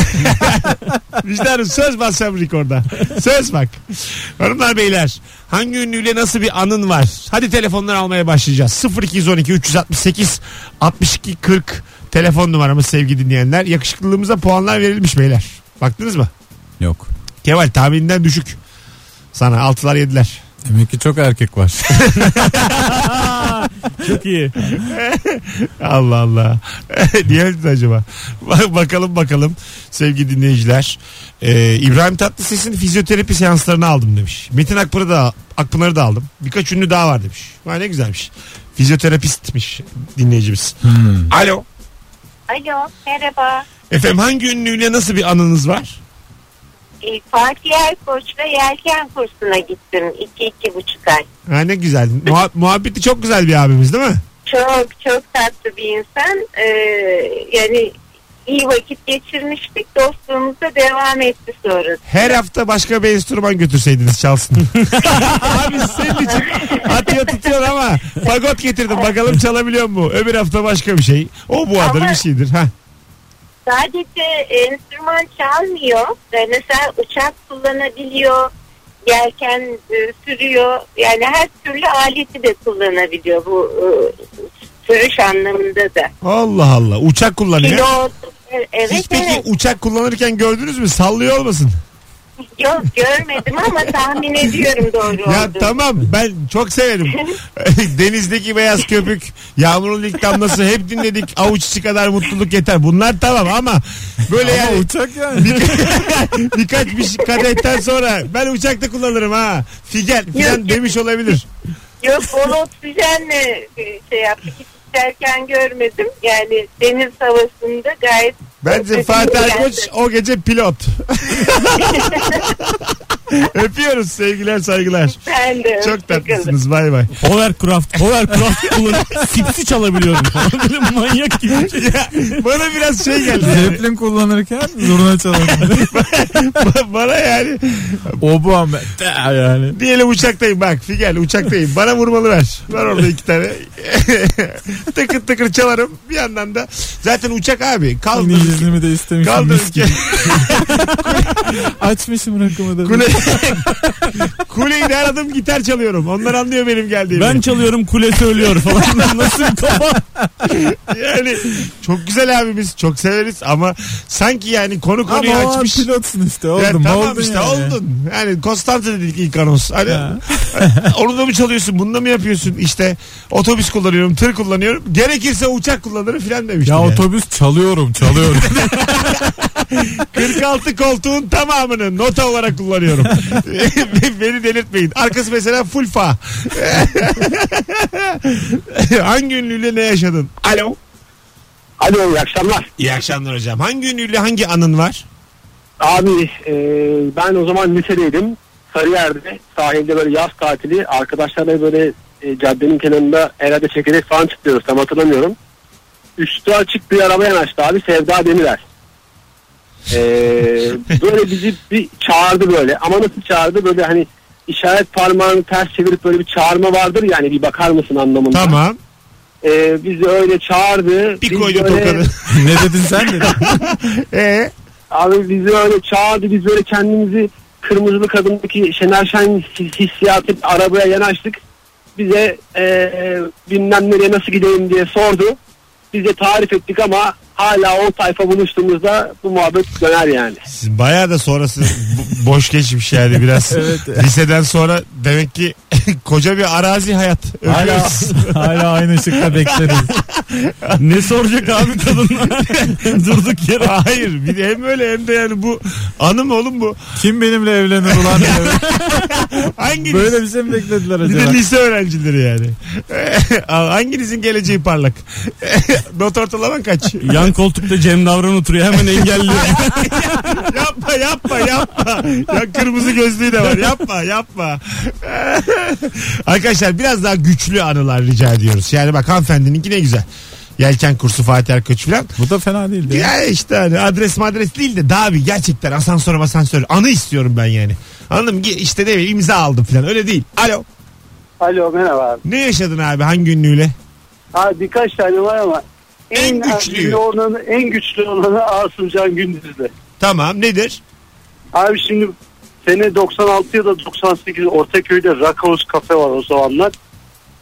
müjdarın söz bassam rekorda. Söz bak. Hanımlar beyler hangi ünlüyle nasıl bir anın var? Hadi telefonlar almaya başlayacağız. 0212 368 62 40 telefon numaramız sevgili dinleyenler. Yakışıklılığımıza puanlar verilmiş beyler. Baktınız mı? Yok. Kemal tahmininden düşük. Sana altılar yediler. Demek ki çok erkek var. Çok iyi. Allah Allah. Niye öldün acaba? Bak- bakalım bakalım sevgili dinleyiciler. Ee, İbrahim Tatlıses'in fizyoterapi seanslarını aldım demiş. Metin Akpınar'ı da, Akpınar'ı da aldım. Birkaç ünlü daha var demiş. Vay ne güzelmiş. Fizyoterapistmiş dinleyicimiz. Hmm. Alo. Alo merhaba. Efendim hangi ünlüyle nasıl bir anınız var? Ee, Fatih Erkoç'la yelken kursuna gittim. iki iki buçuk ay. Ha ne güzel. Muha- muhabbeti çok güzel bir abimiz değil mi? Çok çok tatlı bir insan. Ee, yani iyi vakit geçirmiştik. Dostluğumuz da devam etti sonra. Her hafta başka bir enstrüman götürseydiniz çalsın. Abi senin için atıyor tutuyor ama fagot getirdim bakalım çalabiliyor mu? Öbür hafta başka bir şey. O bu adır Ama- bir şeydir. Ha. Sadece enstrüman çalmıyor. Ee, Mesela uçak kullanabiliyor. Yelken e, sürüyor. Yani her türlü aleti de kullanabiliyor bu e, sürüş anlamında da. Allah Allah uçak kullanıyor. Pilot. e, Evet Hiç peki evet. uçak kullanırken gördünüz mü? Sallıyor olmasın? Yok görmedim ama tahmin ediyorum doğru Ya olduğunu. tamam ben çok severim. Denizdeki beyaz köpük, yağmurun ilk damlası hep dinledik. Avuç içi kadar mutluluk yeter. Bunlar tamam ama böyle yani Uçak yani. Birkaç bir şey- kadehten sonra ben uçakta kullanırım ha. Figen filan Yok. demiş olabilir. Yok bol oksijenle e, şey yaptık. Hiç içerken görmedim. Yani deniz havasında gayet Bence Fatih Erkoç o gece pilot. Öpüyoruz sevgiler saygılar. Ben de Çok tatlısınız bay bay. Hovercraft. Hovercraft kullanıp sipsi çalabiliyorum. Böyle manyak gibi. Ya, bana biraz şey geldi. yani. Zeppelin kullanırken zurna çalarken. bana yani o bu ama. yani. diyelim uçaktayım bak Figen uçaktayım. Bana vurmalı ver. Ver orada iki tane. tıkır tıkır çalarım. Bir yandan da zaten uçak abi Yine kaldır. iznimi de istemişim. Kaldır. mis gibi. Açmışım rakımı da. Kule, Kuleyi de aradım gitar çalıyorum. Onlar anlıyor benim geldiğimi. Ben çalıyorum kule söylüyor falan. Nasıl bir kafa? Yani çok güzel abimiz. Çok severiz ama sanki yani konu Ama konuyu o an açmış. pilotsun işte Ya oldum. tamam oldun işte yani. oldun. Yani Konstanta dedik ilk anons. Hani, Ha. onu da mı çalıyorsun? Bunu da mı yapıyorsun? İşte otobüs kullanıyorum, tır kullanıyorum. Gerekirse uçak kullanırım filan demiştim. Ya yani. otobüs çalıyorum çalıyorum. 46 koltuğun tamamını nota olarak kullanıyorum. Beni delirtmeyin. Arkası mesela full fa. hangi ünlüyle ne yaşadın? Alo. Alo iyi akşamlar. İyi akşamlar hocam. Hangi ünlüyle hangi anın var? Abi e, ben o zaman lisedeydim. Sarıyer'de sahilde böyle yaz tatili arkadaşlarla böyle e, caddenin kenarında herhalde çekerek falan çıkıyoruz tam hatırlamıyorum. Üstü açık bir araba yanaştı abi Sevda Demirer. E, böyle bizi bir çağırdı böyle ama nasıl çağırdı böyle hani işaret parmağını ters çevirip böyle bir çağırma vardır yani bir bakar mısın anlamında. Tamam. E, bizi öyle çağırdı. Bir Biz koydu böyle- tokadı. ne dedin sen dedin. Ee, Abi bizi öyle çağırdı biz böyle kendimizi kırmızılı kadındaki Şener Şen his- hissiyatı arabaya yanaştık. Bize eee bilmem nereye nasıl gideyim diye sordu. Biz de tarif ettik ama hala o tayfa buluştuğumuzda bu muhabbet döner yani. siz bayağı da sonrası bo- boş geçmiş yani biraz. Liseden sonra demek ki koca bir arazi hayat. Hala, Öpüyoruz. hala aynı ışıkta bekleriz. ne soracak abi kadınlar? Durduk yere. Hayır bir de hem öyle hem de yani bu anım oğlum bu. Kim benimle evlenir ulan? Hangi Böyle bir şey mi beklediler Bir de acaba? lise öğrencileri yani. Hanginizin geleceği parlak? Not ortalaman kaç? Yan koltukta Cem Davran oturuyor hemen engelliyor. yapma yapma yapma. Ya kırmızı gözlüğü de var. Yapma yapma. Arkadaşlar biraz daha güçlü anılar rica ediyoruz. Yani bak hanımefendininki ne güzel. Yelken kursu Fatih Erkoç filan. Bu da fena değil. değil mi? Ya işte hani adres madres değil de daha bir gerçekten asansör asansör anı istiyorum ben yani. Anladın mı? İşte ne bileyim imza aldım filan öyle değil. Alo Alo merhaba abi. ne yaşadın abi hangi ünlüyle? Abi birkaç tane var ama En güçlüyü. güçlü olanı, en güçlü olanı Asımcan Gündüz'de. Tamam nedir? Abi şimdi sene 96 ya da 98 Ortaköy'de Rakavuz kafe var o zamanlar.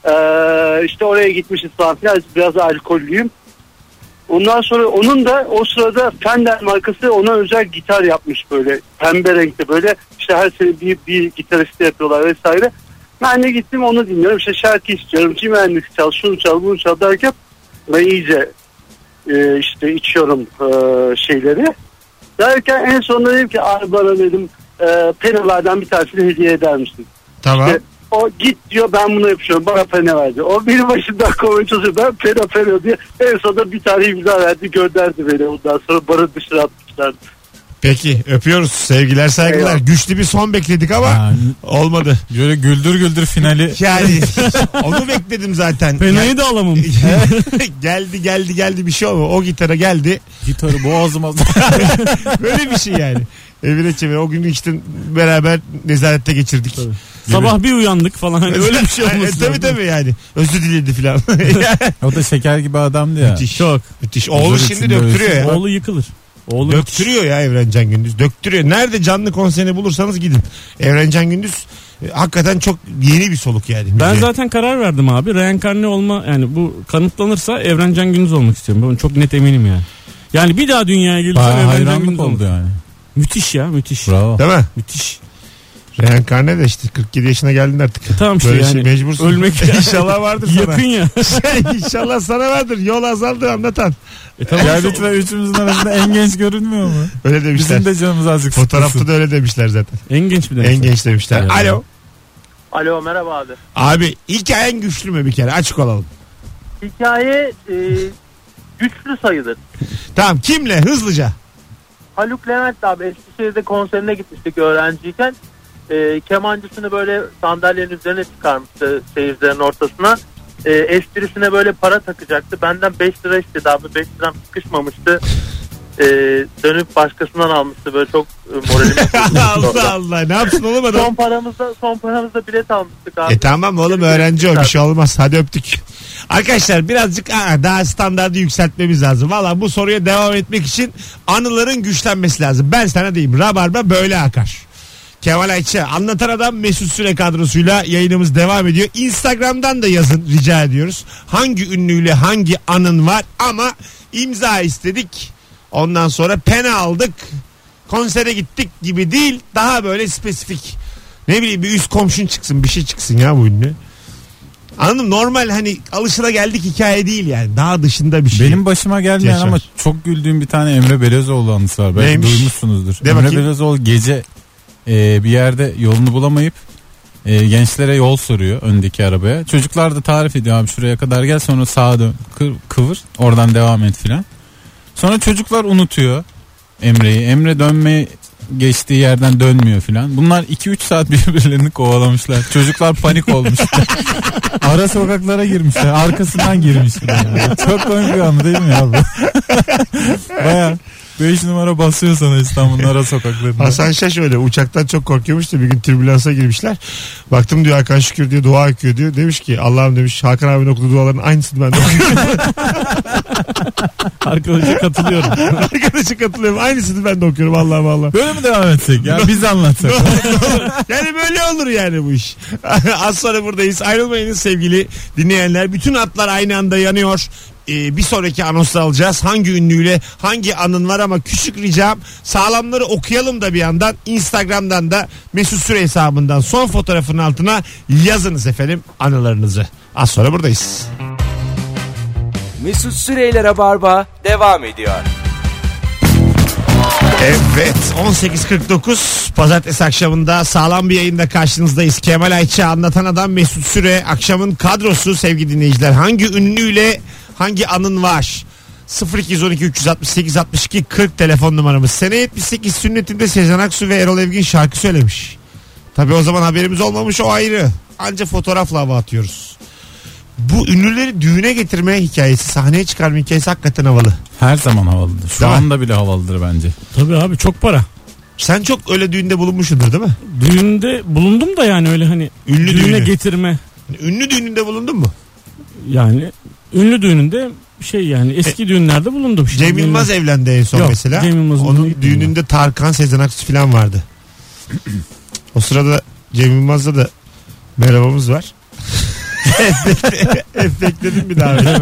Ee, işte oraya gitmişiz falan filan. Biraz alkollüyüm. Ondan sonra onun da o sırada Fender markası ona özel gitar yapmış böyle. Pembe renkte böyle. İşte her sene bir, bir gitariste yapıyorlar vesaire. Ben de gittim onu dinliyorum. İşte şarkı istiyorum. Kim mühendis çal, şunu çal, bunu çal derken ben iyice e, işte içiyorum e, şeyleri. Derken en sonunda dedim ki abi bana dedim e, penelerden bir tanesini hediye eder misin? Tamam. İşte o git diyor ben bunu yapıyorum bana pene verdi. O benim başımdan kovun çocuğu ben pene pene diye en sonunda bir tane imza verdi gönderdi beni. Ondan sonra bana dışarı atmışlar. Peki öpüyoruz. Sevgiler saygılar. Eyvallah. Güçlü bir son bekledik ama Ha, olmadı. Böyle güldür güldür finali. Yani onu bekledim zaten. Penayı da alamam. Gel- geldi geldi geldi bir şey olma. O gitara geldi. Gitarı boğazıma. Böyle bir şey yani. Evine çevir. O günü işte beraber nezarette geçirdik. Sabah bir uyandık falan. Hani öyle bir E, şey Yani, olmasın. tabii tabii yani. Özür diledi filan. o da şeker gibi adamdı ya. Müthiş. Çok. Müthiş. Oğlu Huzur şimdi içinde döktürüyor ya. Oğlu yıkılır. Oğlu Döktürüyor ya Evrencan Gündüz. Döktürüyor. Nerede canlı konserini bulursanız gidin. Evrencan Gündüz e, hakikaten çok yeni bir soluk yani. Ben Müziğe. zaten karar verdim abi. Reenkarne olma yani bu kanıtlanırsa Evrencan Gündüz olmak istiyorum. Ben çok net eminim yani. Yani bir daha dünyaya gelirsem Bayağı Evrencan Gündüz hayranlık olmak. oldu yani. Müthiş ya müthiş. Bravo. Değil mi? Müthiş. Reenkarne de işte 47 yaşına geldin artık. E Tamam işte Böyle yani. şey mecbursun. Ölmek İnşallah vardır sana. Yakın ya. İnşallah sana vardır. Yol azaldı anlatan. E tamam. Ya lütfen üçümüzün arasında en genç görünmüyor mu? Öyle demişler. Bizim de canımız azıcık Fotoğrafta sıkılsın. da öyle demişler zaten. En genç bir En demişler. genç demişler. Ya. Alo. Alo merhaba abi. Abi hikayen güçlü mü bir kere? Açık olalım. Hikaye e, güçlü sayılır. Tamam kimle? Hızlıca. Haluk Levent abi Eskişehir'de konserine gitmiştik öğrenciyken. E, kemancısını böyle sandalyenin üzerine çıkarmıştı seyircilerin ortasına. E, esprisine böyle para takacaktı. Benden 5 lira istedi abi. 5 liram sıkışmamıştı. E, dönüp başkasından almıştı. Böyle çok e, moralimi Allah Allah. Ne yapsın oğlum adam? Son paramızda, son paramızda bilet almıştık abi. E tamam oğlum öğrenci o bir şey olmaz. Hadi öptük. Arkadaşlar birazcık aa, daha standardı yükseltmemiz lazım. Valla bu soruya devam etmek için anıların güçlenmesi lazım. Ben sana diyeyim. Rabarba böyle akar. Kemal Ayça. Anlatan Adam Mesut Süre kadrosuyla yayınımız devam ediyor. Instagram'dan da yazın rica ediyoruz. Hangi ünlüyle hangi anın var ama imza istedik. Ondan sonra pena aldık. Konsere gittik gibi değil. Daha böyle spesifik. Ne bileyim bir üst komşun çıksın bir şey çıksın ya bu ünlü. Anladım normal hani alışıla geldik hikaye değil yani. Daha dışında bir şey. Benim başıma gelmeyen Yaşar. ama çok güldüğüm bir tane Emre Belözoğlu anısı var. Belki Neymiş? duymuşsunuzdur. De Emre bakayım. Belözoğlu gece e, bir yerde yolunu bulamayıp e, gençlere yol soruyor öndeki arabaya. Çocuklar da tarif ediyor abi şuraya kadar gel sonra sağa dön kı- kıvır oradan devam et filan. Sonra çocuklar unutuyor Emre'yi. Emre dönmeyi geçtiği yerden dönmüyor filan. Bunlar 2-3 saat birbirlerini kovalamışlar. Çocuklar panik olmuş. Ara sokaklara girmişler. Arkasından girmişler. Yani. Çok komik bir anı değil mi ya bu? Baya 5 numara basıyor sana İstanbul'un ara sokaklarında. Hasan Şaş öyle uçaktan çok korkuyormuş da bir gün türbülansa girmişler. Baktım diyor Hakan Şükür diyor dua okuyor diyor. Demiş ki Allah'ım demiş Hakan abinin okuduğu duaların aynısını ben de okuyorum. Arkadaşa katılıyorum. Arkadaşı katılıyorum aynısını ben de okuyorum Allah'ım Allah'ım. Böyle mi devam etsek ya? Biz anlatsak. yani böyle olur yani bu iş. Az sonra buradayız. Ayrılmayınız sevgili dinleyenler. Bütün atlar aynı anda yanıyor. Ee, bir sonraki anonsu alacağız. Hangi ünlüyle hangi anın var ama küçük ricam sağlamları okuyalım da bir yandan. Instagram'dan da Mesut Süre hesabından son fotoğrafın altına yazınız efendim anılarınızı. Az sonra buradayız. Mesut Süreyler'e barba devam ediyor. Evet 18.49 pazartesi akşamında sağlam bir yayında karşınızdayız. Kemal Ayça anlatan adam Mesut Süre akşamın kadrosu sevgili dinleyiciler. Hangi ünlüyle hangi anın var? 0212 368 62 40 telefon numaramız. Sene 78 sünnetinde Sezen Aksu ve Erol Evgin şarkı söylemiş. Tabi o zaman haberimiz olmamış o ayrı. Anca fotoğrafla hava atıyoruz. Bu ünlüleri düğüne getirme hikayesi, sahneye çıkarma hikayesi hakikaten havalı. Her zaman havalıdır. Şu Değil mi? anda bile havalıdır bence. Tabii abi çok para. Sen çok öyle düğünde bulunmuşsundur değil mi? Düğünde bulundum da yani öyle hani Ünlü düğüne düğünü. getirme Ünlü düğününde bulundun mu? yani ünlü düğününde şey yani eski düğünlerde bulundum. Şimdi E, Cem Yılmaz evlendi en son Yok, mesela. Cem Yılmaz'ın düğüne Onun gittim düğününde Tarkan, Sezen Aksu falan vardı. o sırada Cem Yılmaz'da da merhabamız var. Efekledim bir davetiye.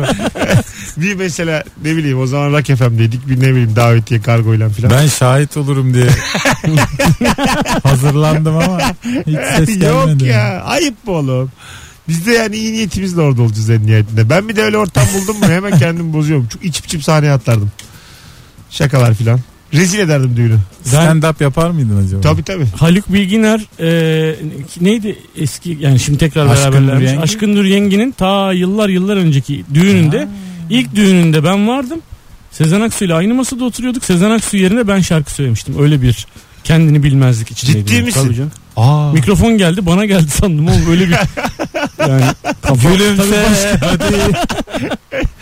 bir mesela ne bileyim o zaman Rock FM'deydik bir ne bileyim davetiye kargoyla falan. Ben şahit olurum diye hazırlandım ama hiç ses gelmedi. Yok ya ayıp bu oğlum. Biz de yani iyi niyetimizle orada olacağız en nihayetinde. Ben bir de öyle ortam buldum mu hemen kendimi bozuyorum. Çok içip içip sahneye atlardım. Şakalar filan. Rezil ederdim düğünü. Stand up yapar mıydın acaba? Tabii tabii. Haluk Bilginer e, neydi eski yani şimdi tekrar Aşkın beraberlermiş. Nur Yengi. Aşkın Nur Yengi'nin ta yıllar yıllar önceki düğününde ilk düğününde ben vardım. Sezen Aksu ile aynı masada oturuyorduk. Sezen Aksu yerine ben şarkı söylemiştim. Öyle bir kendini bilmezlik içindeydim. Ciddi misin? Tabii canım. Aa. Mikrofon geldi bana geldi sandım oğlum öyle bir yani kafa- Gülümse hadi.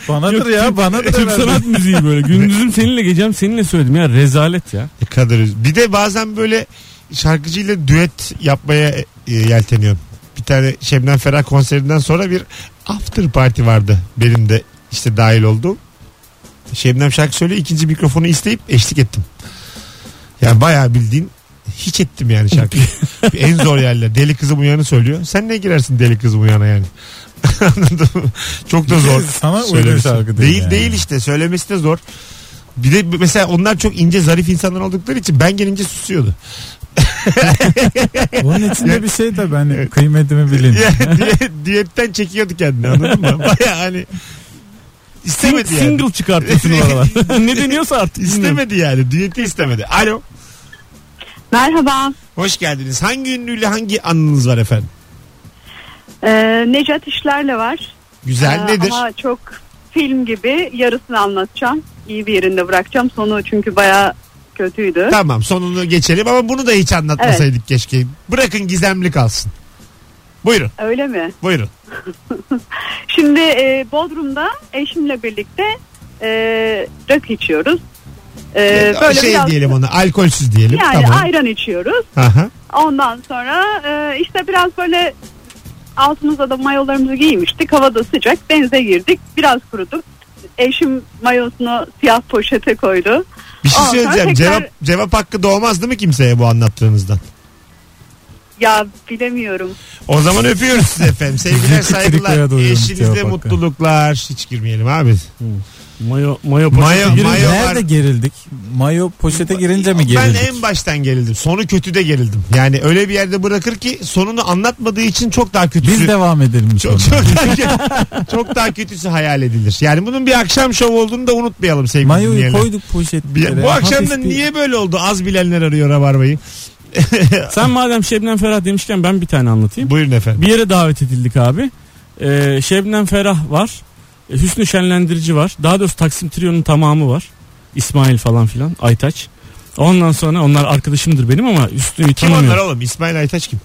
Banadır Yok, ya Türk- banadır Türk herhalde. sanat müziği böyle. Gündüzüm seninle gecem seninle söyledim ya rezalet ya. Ne kadar üz- Bir de bazen böyle şarkıcıyla düet yapmaya e, yelteniyorum. Bir tane Şebnem Ferah konserinden sonra bir after party vardı. Benim de işte dahil olduğum. Şebnem şarkı söylüyor. ikinci mikrofonu isteyip eşlik ettim. Yani bayağı bildiğin hiç ettim yani şarkıyı. en zor yerler. Deli kızım uyanı söylüyor. Sen ne girersin deli kızım uyana yani? Anladın mı? Çok da zor. Sana uygun Söylemesi. şarkı değil Değil yani. değil işte. Söylemesi de zor. Bir de mesela onlar çok ince zarif insanlar oldukları için ben gelince susuyordu. Onun içinde bir şey de ben kıymetimi bilin. Yani diye- diyetten çekiyordu kendini anladın mı? Baya hani istemedi Sing- yani. Single çıkartıyorsun oralar. ne deniyorsa artık. bilmiyorum. İstemedi yani. Diyeti istemedi. Alo. Merhaba. Hoş geldiniz. Hangi ünlüyle hangi anınız var efendim? Ee, Necat İşler'le var. Güzel Ee, E, nedir? Ama çok film gibi yarısını anlatacağım. İyi bir yerinde bırakacağım. Sonu çünkü baya kötüydü. Tamam sonunu geçelim ama bunu da hiç anlatmasaydık keşke. Bırakın gizemli kalsın. Buyurun Öyle mi? buyurun. Şimdi e, Bodrum'da eşimle birlikte e, rakı içiyoruz. E, böyle şey biraz diyelim ona alkolsüz diyelim. yani tamam. ayran içiyoruz. Aha. Ondan sonra e, işte biraz böyle altımıza da mayolarımızı giymiştik. Havada sıcak. Denize girdik. Biraz kuruduk. Eşim mayosunu siyah poşete koydu. Bir şey Aa, sen söyleyeceğim. tekrar- Cevap cevap hakkı doğmaz değil mi kimseye bu anlattığınızdan? Ya bilemiyorum. O zaman öpüyoruz sizi efendim. Sevgiler Zeki Triko'ya saygılar. doyuyorum Eşinizde cevap hakkı. mutluluklar. Hiç girmeyelim abi. Mayo, mayo, Mayo- poşeti- mayo- Nerede gerildik? Mayo poşete girince mi Ben gerildik? en baştan gerildim. Sonu kötüde gerildim. Yani öyle bir yerde bırakır ki sonunu anlatmadığı için çok daha kötüsü. Biz devam edelim. çok, Çok, çok, daha kötü- çok daha kötüsü hayal edilir. Yani bunun bir akşam şov olduğunu da unutmayalım sevgili Mayoyu dinleyenler. koyduk poşetlere. Bir- Bu akşam da Hafif bir- niye böyle oldu? Az bilenler arıyor Rabarba'yı. Sen madem Şebnem Ferah demişken ben bir tane anlatayım. Buyurun efendim. Bir yere davet edildik abi. Ee, Şebnem Ferah var. Ee, Hüsnü Şenlendirici var. Daha doğrusu Taksim Trio'nun tamamı var. İsmail falan filan. Aytaç. Ondan sonra onlar arkadaşımdır benim ama üstünü Kim onlar tanımıyorum. oğlum? İsmail Aytaç kim?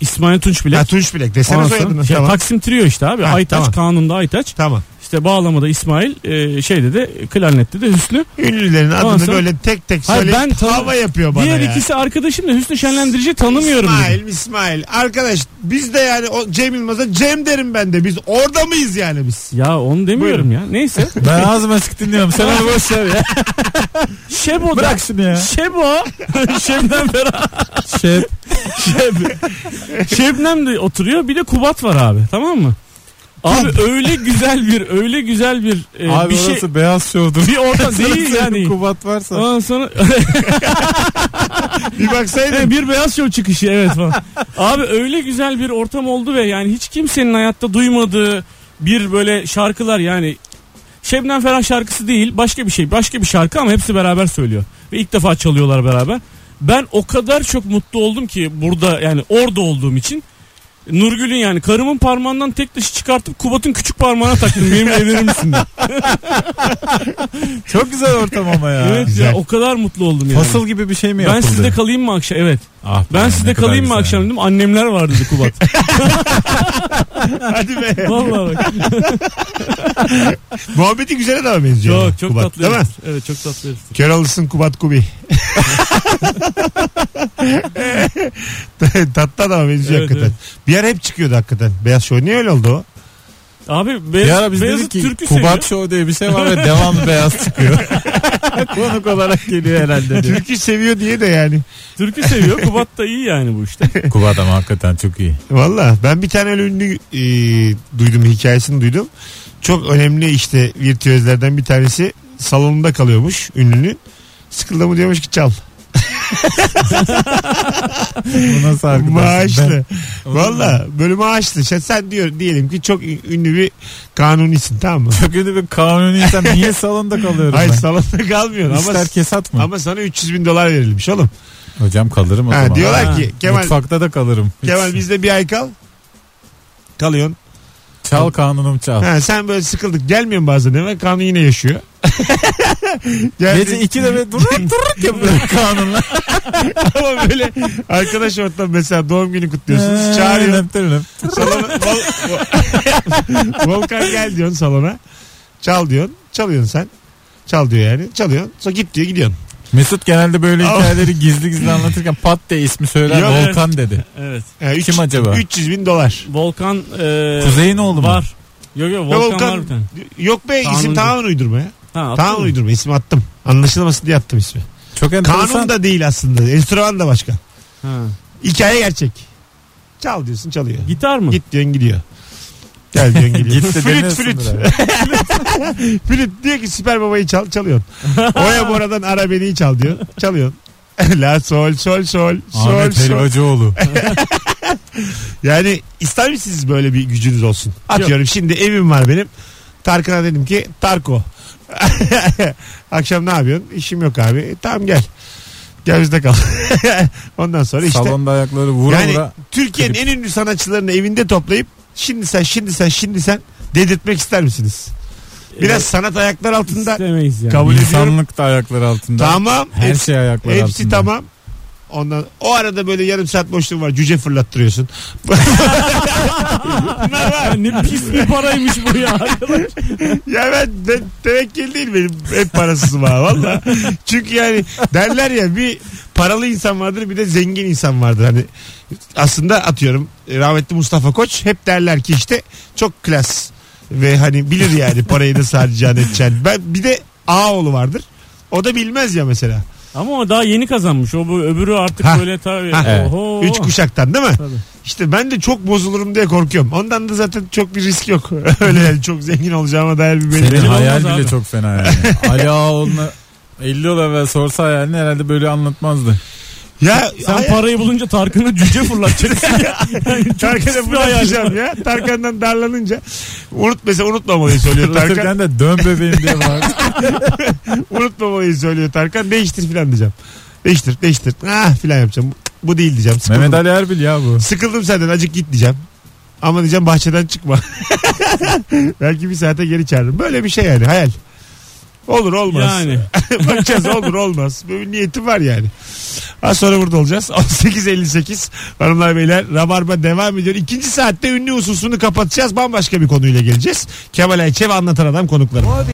İsmail Tunç Ha, bile. Tunç Bilek. Desene Ondan sonra- soyadını. Ya, Tamam. Taksim Trio işte abi. Ha, Aytaç tamam. kanunda Aytaç. tamam. İşte bağlamada İsmail. e, şeyde de klarnette de Hüsnü. Ünlülerin adını Ondan sonra- böyle tek tek Hayır, söyle. ben tanı- hava yapıyor bana Diğer ya. ikisi arkadaşım da Hüsnü Şenlendirici tanımıyorum. dedim. İsmail, İsmail. Arkadaş biz de yani o Cem Yılmaz'a Cem derim ben de. Biz orada mıyız yani biz? Ya onu demiyorum ya. Neyse. Ben ağzım açık dinliyorum. Sen onu boş ver ya. Şebo'da. Bırak şunu ya. Şebo. Şebnem Ferah. Şey, Şebnem de oturuyor. Bir de Kubat var abi. Tamam mı? Abi öyle güzel bir öyle güzel bir e, abi bir şey orası beyaz şovdur. bir orta değil Sarı yani. Kubat varsa. Ondan sonra Bir baksaydın. Evet, bir beyaz şov çıkışı evet falan. Abi öyle güzel bir ortam oldu ve yani hiç kimsenin hayatta duymadığı bir böyle şarkılar yani Şebnem Ferah şarkısı değil başka bir şey başka bir şarkı ama hepsi beraber söylüyor. Ve ilk defa çalıyorlar beraber. Ben o kadar çok mutlu oldum ki burada yani orada olduğum için Nurgül'ün yani karımın parmağından tek taşı çıkartıp Kubat'ın küçük parmağına taktım. Benim evlenir misin? diye. Çok güzel ortam ama ya. Evet Güzel. ya o kadar mutlu oldum yani. Fasıl gibi bir şey mi ben yapıldı? sizde kalayım mı akşam? Evet. Ah be, Ben ne sizde kadar kalayım mı güzel. akşam dedim. Annemler var dedi Kubat. Hadi be. Vallahi bak. Muhabbeti güzel adama benziyor. ama Çok çok Kubat, tatlı. Değil mi? heriftir. Evet çok tatlı. heriftir. Kör olsun Kubat Kubi. Tatlı adama benziyor Evet, hakikaten. Bir ara hep çıkıyordu hakikaten. Beyaz Şov niye öyle oldu o? Abi Bir Beyaz, ara biz Beyazıt dedik ki türkü Kubat seviyor. Show diye bir şey var ve devamlı beyaz çıkıyor. Konuk olarak geliyor herhalde. diye. Türk'ü seviyor diye de yani. Türkü seviyor. Kubat da iyi yani bu işte. Kubat ama hakikaten çok iyi. Valla ben bir tane öyle ünlü e, duydum hikayesini duydum. Çok önemli işte virtüözlerden bir tanesi salonunda kalıyormuş ünlünün. Sıkıldı mı diyormuş ki çal. Bu nasıl arkadaş? Maaşlı. Ben- Valla böyle maaşlı. Sen, sen diyor diyelim ki çok ünlü bir kanunisin tamam mı? Çok ünlü bir kanuni insan. Niye salonda kalıyorum Hayır ben? salonda kalmıyorsun ama İster kesat mı? ama sana 300 bin dolar verilmiş oğlum. Hocam kalırım o Ha, zaman. diyorlar Ha. ki Kemal- Mutfakta da kalırım. Hiç- Kemal bizde bir ay kal. Kalıyorsun. Çal kanunum çal. Ha, sen böyle sıkıldık gelmiyorsun bazen eve. Kanun yine yaşıyor. Geldi. Gece 2'de böyle durup durup yapıyorum kanunla. Ama böyle arkadaş ortam mesela doğum günü kutluyorsunuz. Çağırıyorsun. Löp löp löp. salona, Vol- Vol- Volkan gel diyorsun salona. Çal diyorsun. Çalıyorsun sen. Çal diyor yani. Çalıyorsun. Sonra git diyor gidiyorsun. Mesut genelde böyle Ama- hikayeleri gizli gizli anlatırken pat diye ismi söyler Yok, Volkan dedi. Evet. Ha, üç- Kim acaba? 300 bin dolar. Volkan e, Kuzey'in oğlu mu? var. Yok yok Ya Volkan, var bir tane. Yok be Kanun isim uydurma. tamamen uydurma ya. Ha, attın Tamamen mı? uydurma. İsim attım. Anlaşılmasın diye attım ismi. Çok enteresan. Kanun da değil aslında. Enstrüman da başka. Ha. Hikaye gerçek. Çal diyorsun çalıyor. Git, Gitar mı? diyorsun gidiyor. Gel diyorsun gidiyor. Gitti flüt demiyorsun flüt. da. flüt diyor ki süper babayı çal çalıyorsun. Oya Bora'dan ara beni çal diyor. Çalıyorsun. La sol sol sol sol Ahmet sol. Helvacıoğlu. Yani ister misiniz böyle bir gücünüz olsun? Atıyorum şimdi evim var benim. Tarkan'a dedim ki Tarko. Akşam ne yapıyorsun? İşim yok abi. E, tamam gel. Gel bizde kal. Ondan sonra işte. Salonda ayakları vura yani vura. Türkiye'nin en ünlü sanatçılarını evinde toplayıp şimdi sen şimdi sen şimdi sen dedirtmek ister misiniz? Ee, Biraz sanat ayaklar altında. İstemeyiz yani. Kabul ediyorum. İnsanlık da ayakları altında. Tamam. Her hepsi, şey ayakları altında. hepsi tamam. Ondan o arada böyle yarım saat boşluğum var. Cüce fırlattırıyorsun. Bunlar Ya var. ne pis bir paraymış bu ya. arkadaş. Ya ben de, tevekkil değil benim hep parasızım ha valla. Çünkü yani derler ya bir paralı insan vardır bir de zengin insan vardır. Hani aslında atıyorum rahmetli Mustafa Koç hep derler ki işte çok klas ve hani bilir yani parayı da sadece edeceğini. Ben bir de Ağoğlu vardır. O da bilmez ya mesela. Ama o daha yeni kazanmış. O bu öbürü artık Ha. böyle tabii. Ha. Evet. Oho. Üç kuşaktan değil mi? Tabii. İşte ben de çok bozulurum diye korkuyorum. Ondan da zaten çok bir risk yok. Öyle yani çok zengin olacağıma dair bir Senin belli. olmaz hayal bile abi. çok fena yani. Ali Ağaoğlu'na 50 yıl evvel sorsa hayalini herhalde böyle anlatmazdı. Ya Sen hayal- parayı bulunca Tarkan'a cüce fırlatacaksın. yani çok pis Tarkan'a bir bunu hayal. yapacağım ya. Tarkan'dan darlanınca unut mesela unutmamalıyı söylüyor Tarkan. Fırlatırken de dön bebeğim diye bağırdı. unutmamalıyı söylüyor Tarkan. Değiştir filan diyeceğim. Değiştir değiştir. Ah filan yapacağım. Bu değil diyeceğim. Sıkıldım. Mehmet Ali Erbil ya bu. Sıkıldım senden acık git diyeceğim. Ama diyeceğim bahçeden çıkma. Belki bir saate geri çağırırım. Böyle bir şey yani hayal. Olur olmaz. Yani. Bakacağız olur olmaz. Böyle bir niyetim var yani. Az sonra burada olacağız. 18.58 hanımlar beyler Rabarba devam ediyor. İkinci saatte ünlü hususunu kapatacağız. Bambaşka bir konuyla geleceğiz. Kemal Ayçe ve Anlatan Adam konuklarım.